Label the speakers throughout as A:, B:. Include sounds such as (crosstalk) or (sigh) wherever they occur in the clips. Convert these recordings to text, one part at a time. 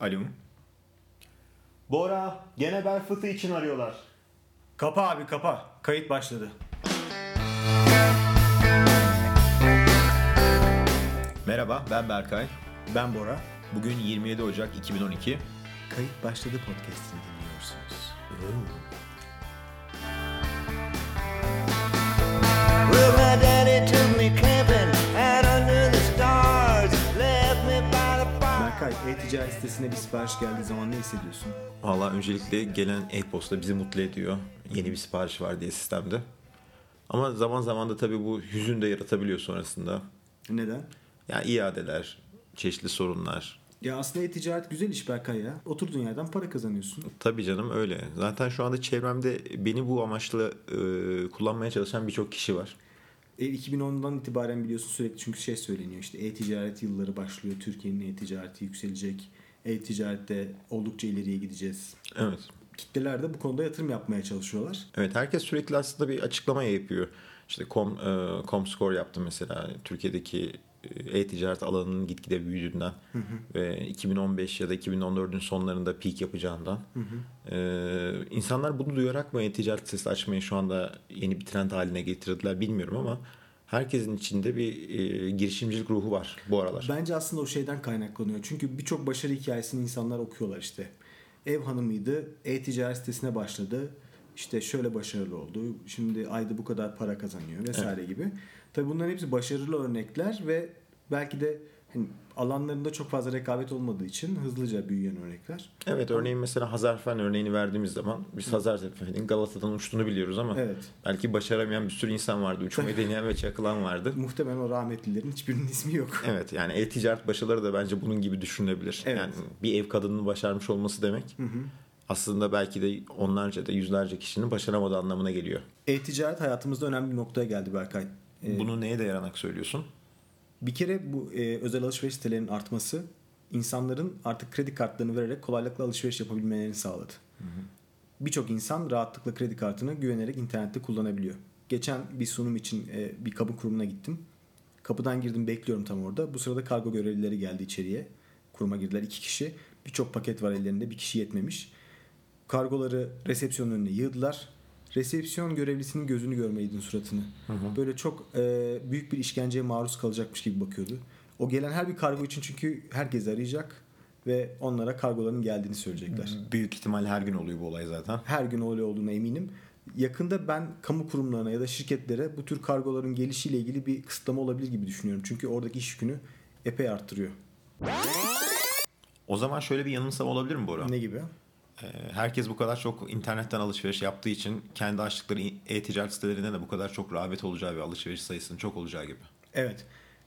A: Alo.
B: Bora, gene bel fıtığı için arıyorlar.
A: Kapa abi kapa. Kayıt başladı. Merhaba ben Berkay.
C: Ben Bora.
A: Bugün 27 Ocak 2012.
C: Kayıt başladı podcast'ini dinliyorsunuz.
D: Well, my daddy took me camping out under the stars, left me by the fire.
C: Berkay, e-ticaret sitesine bir sipariş geldiği zaman ne hissediyorsun?
A: Valla öncelikle gelen e-posta bizi mutlu ediyor. Yeni bir sipariş var diye sistemde. Ama zaman zaman da tabii bu hüzün de yaratabiliyor sonrasında.
C: Neden?
A: Yani iadeler, çeşitli sorunlar.
C: Ya aslında e-ticaret güzel iş Berkay ya. Oturduğun yerden para kazanıyorsun.
A: Tabii canım öyle. Zaten şu anda çevremde beni bu amaçla e, kullanmaya çalışan birçok kişi var.
C: E, 2010'dan itibaren biliyorsun sürekli çünkü şey söyleniyor işte e-ticaret yılları başlıyor. Türkiye'nin e-ticareti yükselecek. E-ticarette oldukça ileriye gideceğiz.
A: Evet.
C: Kitleler de bu konuda yatırım yapmaya çalışıyorlar.
A: Evet herkes sürekli aslında bir açıklama yapıyor. İşte com, e, Comscore yaptı mesela Türkiye'deki e, e-ticaret alanının gitgide büyüdüğünden ve 2015 ya da 2014'ün sonlarında peak yapacağından E, insanlar bunu duyarak mı e-ticaret sitesi açmayı şu anda yeni bir trend haline getirdiler bilmiyorum ama herkesin içinde bir e, girişimcilik ruhu var bu aralar.
C: Bence aslında o şeyden kaynaklanıyor. Çünkü birçok başarı hikayesini insanlar okuyorlar işte. Ev hanımıydı, e-ticaret sitesine başladı. İşte şöyle başarılı oldu. Şimdi ayda bu kadar para kazanıyor vesaire gibi. Tabii bunların hepsi başarılı örnekler ve belki de hani alanlarında çok fazla rekabet olmadığı için hızlıca büyüyen örnekler.
A: Evet örneğin mesela Hazarfen örneğini verdiğimiz zaman biz Hazarfen'in Galata'dan uçtuğunu biliyoruz ama
C: Evet.
A: belki başaramayan bir sürü insan vardı.
C: (laughs)
A: Uçmayı deneyen ve çakılan vardı.
C: Muhtemelen o rahmetlilerin hiçbirinin ismi yok.
A: Evet yani e-ticaret başarıları da bence bunun gibi düşünülebilir.
C: Evet.
A: Yani bir ev kadının başarmış olması demek aslında belki de onlarca da yüzlerce kişinin başaramadığı anlamına geliyor.
C: E-ticaret hayatımızda önemli bir noktaya geldi Berkay. Ee,
A: Bunu neye dayanarak söylüyorsun?
C: Bir kere bu e, özel alışveriş sitelerinin artması insanların artık kredi kartlarını vererek kolaylıkla alışveriş yapabilmelerini sağladı. Birçok insan rahatlıkla kredi kartını güvenerek internette kullanabiliyor. Geçen bir sunum için e, bir kabı kurumuna gittim. Kapıdan girdim bekliyorum tam orada. Bu sırada kargo görevlileri geldi içeriye. Kuruma girdiler iki kişi. Birçok paket var ellerinde bir kişi yetmemiş. Kargoları resepsiyonun önüne yığdılar. Resepsiyon görevlisinin gözünü görmeydin suratını. Böyle çok e, büyük bir işkenceye maruz kalacakmış gibi bakıyordu. O gelen her bir kargo için çünkü herkes arayacak ve onlara kargoların geldiğini söyleyecekler.
A: Büyük ihtimal her gün oluyor bu olay zaten.
C: Her gün öyle olduğuna eminim. Yakında ben kamu kurumlarına ya da şirketlere bu tür kargoların gelişiyle ilgili bir kısıtlama olabilir gibi düşünüyorum. Çünkü oradaki iş yükünü epey arttırıyor.
A: O zaman şöyle bir yanılsama olabilir mi Bora?
C: Ne gibi?
A: Ee, Herkes bu kadar çok internetten alışveriş yaptığı için kendi açtıkları e-ticaret sitelerinde de bu kadar çok rağbet olacağı ve alışveriş sayısının çok olacağı gibi.
C: Evet.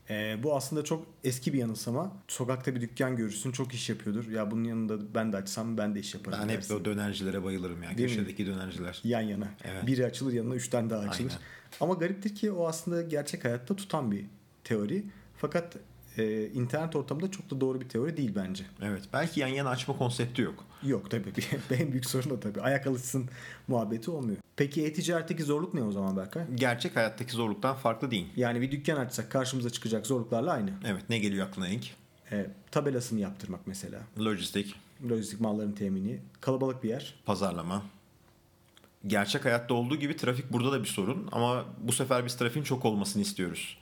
C: Ee, bu aslında çok eski bir yanılsama. Sokakta bir dükkan görürsün çok iş yapıyordur. Ya bunun yanında ben de açsam ben de iş yaparım.
A: Ben hep
C: dersin.
A: o dönercilere bayılırım yani.
C: Değil mi?
A: Köşedeki dönerciler.
C: Yan yana.
A: Evet.
C: Biri açılır yanına üç tane daha açılır.
A: Aynen.
C: Ama gariptir ki o aslında gerçek hayatta tutan bir teori. Fakat e, internet ortamında çok da doğru bir teori değil bence.
A: Evet. Belki yan yana açma konsepti yok.
C: Yok tabii. (laughs) en büyük sorun o tabii. Ayak alışsın muhabbeti olmuyor. Peki e-ticaretteki zorluk ne o zaman Berkay?
A: Gerçek hayattaki zorluktan farklı değil.
C: Yani bir dükkan açsak karşımıza çıkacak zorluklarla aynı.
A: Evet. Ne geliyor aklına ilk?
C: E, tabelasını yaptırmak mesela.
A: Lojistik,
C: Lojistik malların temini. Kalabalık bir yer.
A: pazarlama. Gerçek hayatta olduğu gibi trafik burada da bir sorun ama bu sefer biz trafiğin çok olmasını istiyoruz.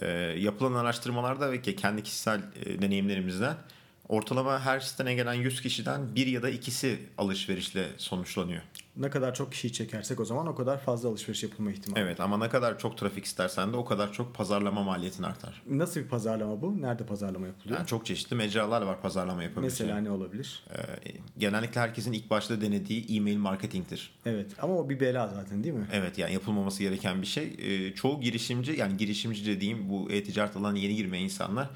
A: Ee, yapılan araştırmalarda ve ki kendi kişisel e, deneyimlerimizden ortalama her sitene gelen 100 kişiden bir ya da ikisi alışverişle sonuçlanıyor.
C: Ne kadar çok kişiyi çekersek o zaman o kadar fazla alışveriş yapılma ihtimali.
A: Evet ama ne kadar çok trafik istersen de o kadar çok pazarlama maliyetin artar.
C: Nasıl bir pazarlama bu? Nerede pazarlama yapılıyor?
A: Yani çok çeşitli mecralar var pazarlama yapabileceği.
C: Mesela ne olabilir?
A: Ee, genellikle herkesin ilk başta denediği e-mail marketingtir.
C: Evet ama o bir bela zaten değil mi?
A: Evet yani yapılmaması gereken bir şey. Ee, çoğu girişimci yani girişimci dediğim bu e-ticaret alanına yeni girmeyen insanlar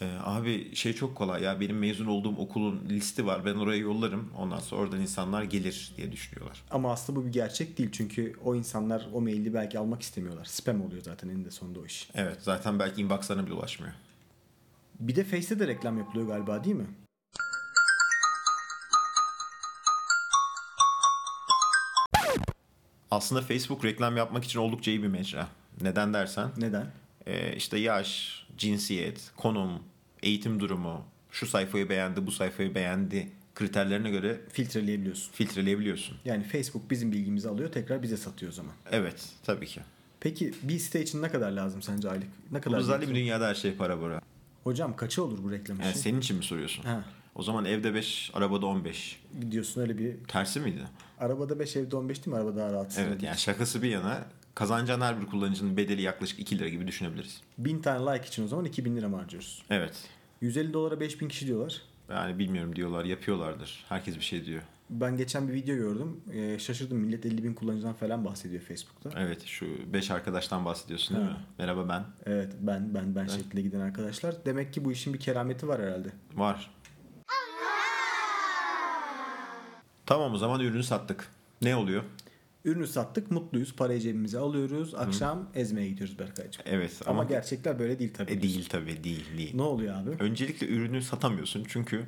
A: "Ee, abi şey çok kolay ya benim mezun olduğum okulun listi var ben oraya yollarım ondan sonra oradan insanlar gelir diye düşünüyorlar.
C: Ama aslında bu bir gerçek değil çünkü o insanlar o maili belki almak istemiyorlar. Spam oluyor zaten eninde sonunda o iş.
A: Evet zaten belki inboxlarına bile ulaşmıyor.
C: Bir de Face'te de reklam yapılıyor galiba değil mi?
A: Aslında Facebook reklam yapmak için oldukça iyi bir mecra. Neden dersen e,
C: Neden?
A: Ee, işte yaş, cinsiyet, konum, eğitim durumu, şu sayfayı beğendi, bu sayfayı beğendi kriterlerine göre
C: Filtreleyebiliyorsun.
A: filtreleyebiliyorsun.
C: Yani Facebook bizim bilgimizi alıyor tekrar bize satıyor o zaman.
A: Evet, tabii ki.
C: Peki bir site için ne kadar lazım sence aylık? Ne kadar?
A: Özellikle bir
C: lazım?
A: dünyada her şey para para.
C: Hocam kaça olur bu reklam için?
A: Yani senin için mi soruyorsun?
C: Şey- Ha.
A: O zaman evde 5, arabada 15.
C: Gidiyorsun öyle bir
A: Tersi miydi?
C: arabada 5 evde 15 değil mi? Araba daha rahat.
A: Evet yani şakası bir yana kazanacağın her bir kullanıcının bedeli yaklaşık 2 lira gibi düşünebiliriz.
C: 1000 tane like için o zaman 2000 lira mı harcıyoruz?
A: Evet.
C: 150 dolara 5000 kişi diyorlar.
A: Yani bilmiyorum diyorlar yapıyorlardır. Herkes bir şey diyor.
C: Ben geçen bir video gördüm. Ee, şaşırdım. Millet 50 bin kullanıcıdan falan bahsediyor Facebook'ta.
A: Evet şu 5 arkadaştan bahsediyorsun değil
C: Ha.
A: mi? Merhaba ben.
C: Evet ben ben ben şeklinde giden arkadaşlar. Demek ki bu işin bir kerameti var herhalde.
A: Var. Tamam o zaman ürünü sattık. Ne oluyor?
C: Ürünü sattık, mutluyuz, parayı cebimize alıyoruz. Akşam ezmeye gidiyoruz Berkay'cığım.
A: Evet
C: Ama,
A: ama,
C: gerçekler böyle değil tabii.
A: E, değil tabii değil değil.
C: Ne oluyor abi?
A: Öncelikle ürünü satamıyorsun çünkü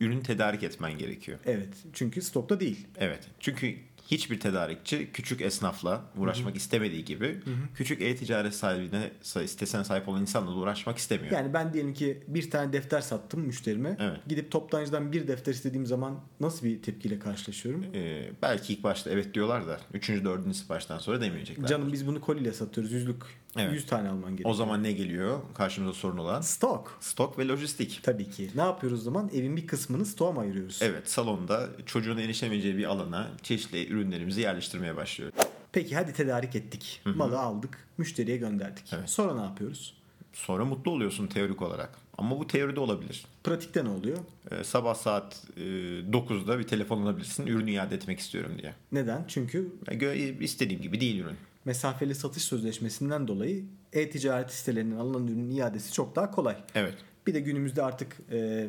A: ürün tedarik etmen gerekiyor.
C: Evet. Çünkü stokta değil.
A: Evet. Çünkü hiçbir tedarikçi küçük esnafla uğraşmak istemediği gibi küçük e-ticaret sahibine sa- sitesine sahip olan insanla da uğraşmak istemiyor.
C: Yani ben diyelim ki bir tane defter sattım müşterime.
A: Evet.
C: Gidip toptancıdan bir defter istediğim zaman nasıl bir tepkiyle karşılaşıyorum?
A: Ee, belki ilk başta evet diyorlar da 3. 4. siparişten sonra demeyecekler.
C: Canım biz bunu koliyle satıyoruz. Yüzlük.
A: Evet.
C: 100 tane alman gerekiyor.
A: O zaman ne geliyor? Karşımıza sorun olan
C: stok.
A: stok ve lojistik.
C: Tabii ki. Ne yapıyoruz o zaman? Evin bir kısmını stoğa mı ayırıyoruz?
A: Evet salonda çocuğun erişemeyeceği bir alana çeşitli ürünlerimizi yerleştirmeye başlıyoruz.
C: Peki hadi tedarik ettik. Malı aldık. Müşteriye gönderdik.
A: Evet.
C: Sonra ne yapıyoruz?
A: Sonra mutlu oluyorsun teorik olarak. Ama bu teoride olabilir.
C: Pratikte ne oluyor?
A: Ee, sabah saat e, 9'da bir telefon alabilirsin ürünü iade etmek istiyorum diye.
C: Neden? Çünkü
A: Ya gö- istediğim gibi değil ürün.
C: mesafeli satış sözleşmesinden dolayı e-ticaret sitelerinin alınan ürünün iadesi çok daha kolay.
A: Evet.
C: Bir de günümüzde artık e,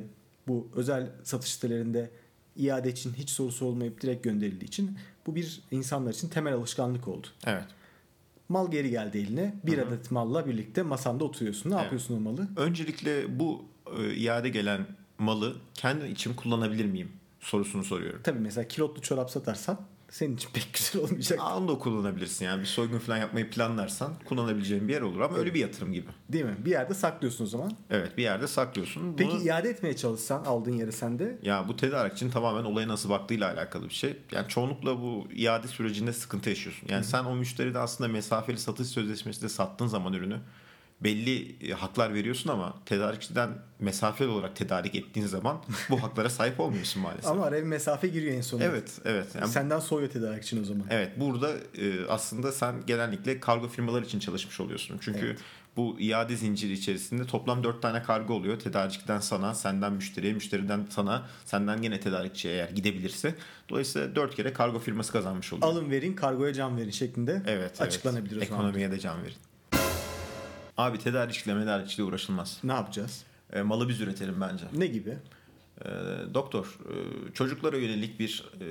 C: bu özel satış sitelerinde iade için hiç sorusu olmayıp direkt gönderildiği için bu bir insanlar için temel alışkanlık oldu.
A: Evet.
C: Mal geri geldi eline. Bir adet malla birlikte masanda oturuyorsun. Ne
A: Evet.
C: yapıyorsun o malı?
A: Öncelikle bu e, iade gelen malı kendi için kullanabilir miyim sorusunu soruyorum.
C: Tabii mesela kilotlu çorap satarsan senin için (laughs) pek güzel olmayacak.
A: Aa, Onu da kullanabilirsin yani bir soygun falan yapmayı planlarsan kullanabileceğin bir yer olur ama öyle bir yatırım gibi.
C: Değil mi? Bir yerde saklıyorsun o zaman.
A: Evet bir yerde saklıyorsun.
C: Peki
A: Bunu-
C: iade etmeye çalışsan aldığın yere sen de
A: Ya bu tedarik için tamamen olaya nasıl baktığıyla alakalı bir şey. Yani çoğunlukla bu iade sürecinde sıkıntı yaşıyorsun. Yani sen o müşteride aslında mesafeli satış sözleşmesinde sattığın zaman ürünü belli e, haklar veriyorsun ama tedarikçiden mesafeli olarak tedarik ettiğin zaman bu haklara sahip olmuyorsun maalesef.
C: ama araya bir mesafe giriyor en sonunda.
A: evet, evet. Yani
C: Senden soyuyor tedarik için o zaman.
A: Evet burada e, aslında sen genellikle kargo firmalar için çalışmış oluyorsun. Çünkü bu iade zinciri içerisinde toplam 4 tane kargo oluyor. Tedarikçiden sana, senden müşteriye, müşteriden sana, senden gene tedarikçiye eğer gidebilirse. Dolayısıyla 4 kere kargo firması kazanmış oluyor.
C: Alın verin kargoya can verin şeklinde
A: evet,
C: açıklanabilir
A: evet.
C: o zaman.
A: Ekonomiye de can verin. Abi tedarikçiyle medarikçiyle uğraşılmaz.
C: Ne yapacağız?
A: E, malı biz üretelim bence.
C: Ne gibi?
A: E, doktor, e, çocuklara yönelik bir e,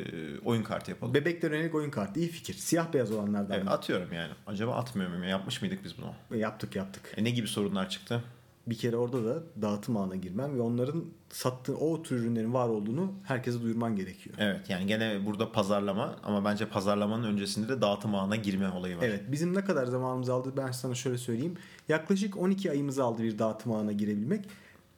A: oyun kartı yapalım.
C: Bebekler yönelik oyun kartı iyi fikir. Siyah beyaz olanlardan
A: Evet, atıyorum yani. Acaba atmıyor muyum? ya? Yapmış mıydık biz bunu?
C: E, yaptık yaptık.
A: E ne gibi sorunlar çıktı?
C: Bir kere orada da dağıtım ağına girmen ve onların sattığı o tür ürünlerin var olduğunu herkese duyurman gerekiyor.
A: Evet yani gene burada pazarlama ama bence pazarlamanın öncesinde de dağıtım ağına girme olayı var.
C: Evet bizim ne kadar zamanımız aldı ben sana şöyle söyleyeyim. Yaklaşık 12 ayımızı aldı bir dağıtım ağına girebilmek.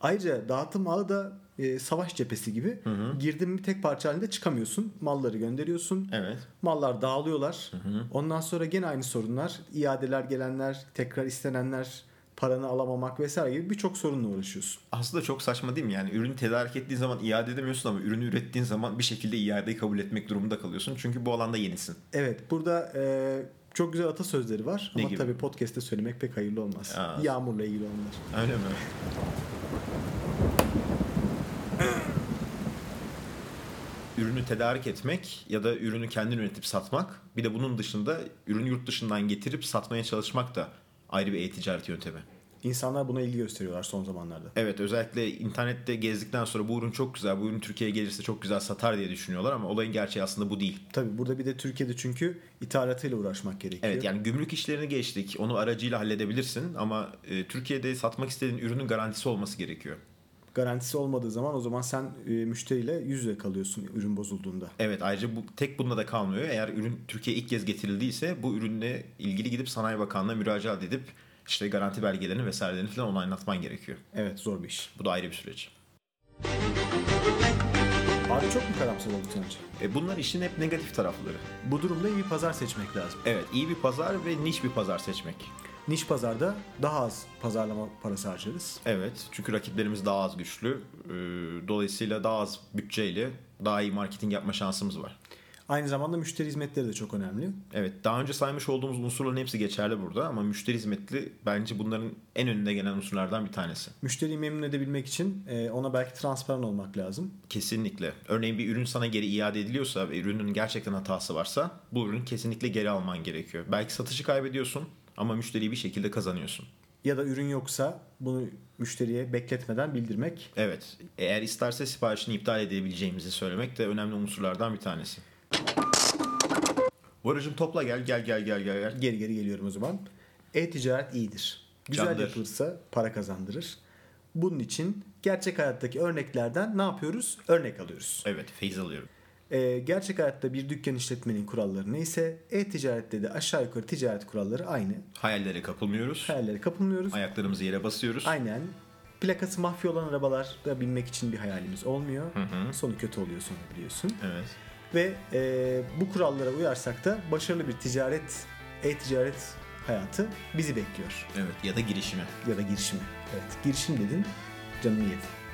C: Ayrıca dağıtım ağı da e, savaş cephesi gibi. Girdin mi tek parça halinde çıkamıyorsun. Malları gönderiyorsun.
A: Evet.
C: Mallar dağılıyorlar. Ondan sonra gene aynı sorunlar. İadeler gelenler, tekrar istenenler, paranı alamamak vesaire gibi birçok sorunla uğraşıyorsun.
A: Aslında çok saçma değil mi? Yani ürünü tedarik ettiğin zaman iade edemiyorsun ama ürünü ürettiğin zaman bir şekilde iadeyi kabul etmek durumunda kalıyorsun. Çünkü bu alanda yenisin.
C: Evet burada e, çok güzel atasözleri var
A: Ne
C: ama
A: gibi?
C: tabii podcast'te söylemek pek hayırlı olmaz.
A: Aa.
C: Yağmurla ilgili onlar.
A: Öyle mi? ürünü tedarik etmek ya da ürünü kendin üretip satmak bir de bunun dışında ürünü yurt dışından getirip satmaya çalışmak da ayrı bir e-ticaret yöntemi.
C: İnsanlar buna ilgi gösteriyorlar son zamanlarda.
A: Evet özellikle internette gezdikten sonra bu ürün çok güzel, bu ürün Türkiye'ye gelirse çok güzel satar diye düşünüyorlar ama olayın gerçeği aslında bu değil.
C: Tabii burada bir de Türkiye'de çünkü ithalatıyla uğraşmak gerekiyor.
A: Evet yani gümrük işlerini geçtik, onu aracıyla halledebilirsin ama e, Türkiye'de satmak istediğin ürünün garantisi olması gerekiyor.
C: Garantisi olmadığı zaman o zaman sen e, müşteriyle yüz yüze kalıyorsun ürün bozulduğunda.
A: Evet ayrıca bu tek bunda da kalmıyor. Eğer ürün Türkiye'ye ilk kez getirildiyse bu ürünle ilgili gidip Sanayi Bakanlığı'na müracaat edip işte garanti belgelerini vesairelerini falan onaylatman gerekiyor.
C: Evet zor bir iş.
A: Bu da ayrı bir süreç.
C: Abi çok mu karamsar olduk sence?
A: E bunlar işin hep negatif tarafları.
C: Bu durumda iyi bir pazar seçmek lazım.
A: Evet iyi bir pazar ve niş bir pazar seçmek.
C: Niş pazarda daha az pazarlama parası harcarız.
A: Evet çünkü rakiplerimiz daha az güçlü. Ee, Dolayısıyla daha az bütçeyle daha iyi marketing yapma şansımız var.
C: Aynı zamanda müşteri hizmetleri de çok önemli.
A: Evet daha önce saymış olduğumuz unsurların hepsi geçerli burada ama müşteri hizmetli bence bunların en önünde gelen unsurlardan bir tanesi.
C: Müşteriyi memnun edebilmek için e, ona belki transparan olmak lazım.
A: Kesinlikle. Örneğin bir ürün sana geri iade ediliyorsa ve ürünün gerçekten hatası varsa bu ürünü kesinlikle geri alman gerekiyor. Belki satışı kaybediyorsun ama müşteriyi bir şekilde kazanıyorsun.
C: Ya da ürün yoksa bunu müşteriye bekletmeden bildirmek.
A: Evet. Eğer isterse siparişini iptal edebileceğimizi söylemek de önemli unsurlardan bir tanesi. Varıcım topla gel gel gel gel gel gel.
C: Geri geri geliyorum o zaman. E-ticaret iyidir. Güzel
A: Candır.
C: yapılırsa para kazandırır. Bunun için gerçek hayattaki örneklerden ne yapıyoruz? Örnek alıyoruz.
A: Evet feyiz alıyorum.
C: E, gerçek hayatta bir dükkan işletmenin kuralları neyse e-ticarette de aşağı yukarı ticaret kuralları aynı.
A: Hayallere kapılmıyoruz.
C: Hayallere kapılmıyoruz.
A: Ayaklarımızı yere basıyoruz.
C: Aynen. Plakası mafya olan arabalarda binmek için bir hayalimiz olmuyor. Sonu kötü oluyor sonra biliyorsun.
A: Evet.
C: Ve e, bu kurallara uyarsak da başarılı bir ticaret, e-ticaret hayatı bizi bekliyor.
A: Evet ya da girişimi.
C: Ya da girişimi. Evet girişim dedin canını yedi.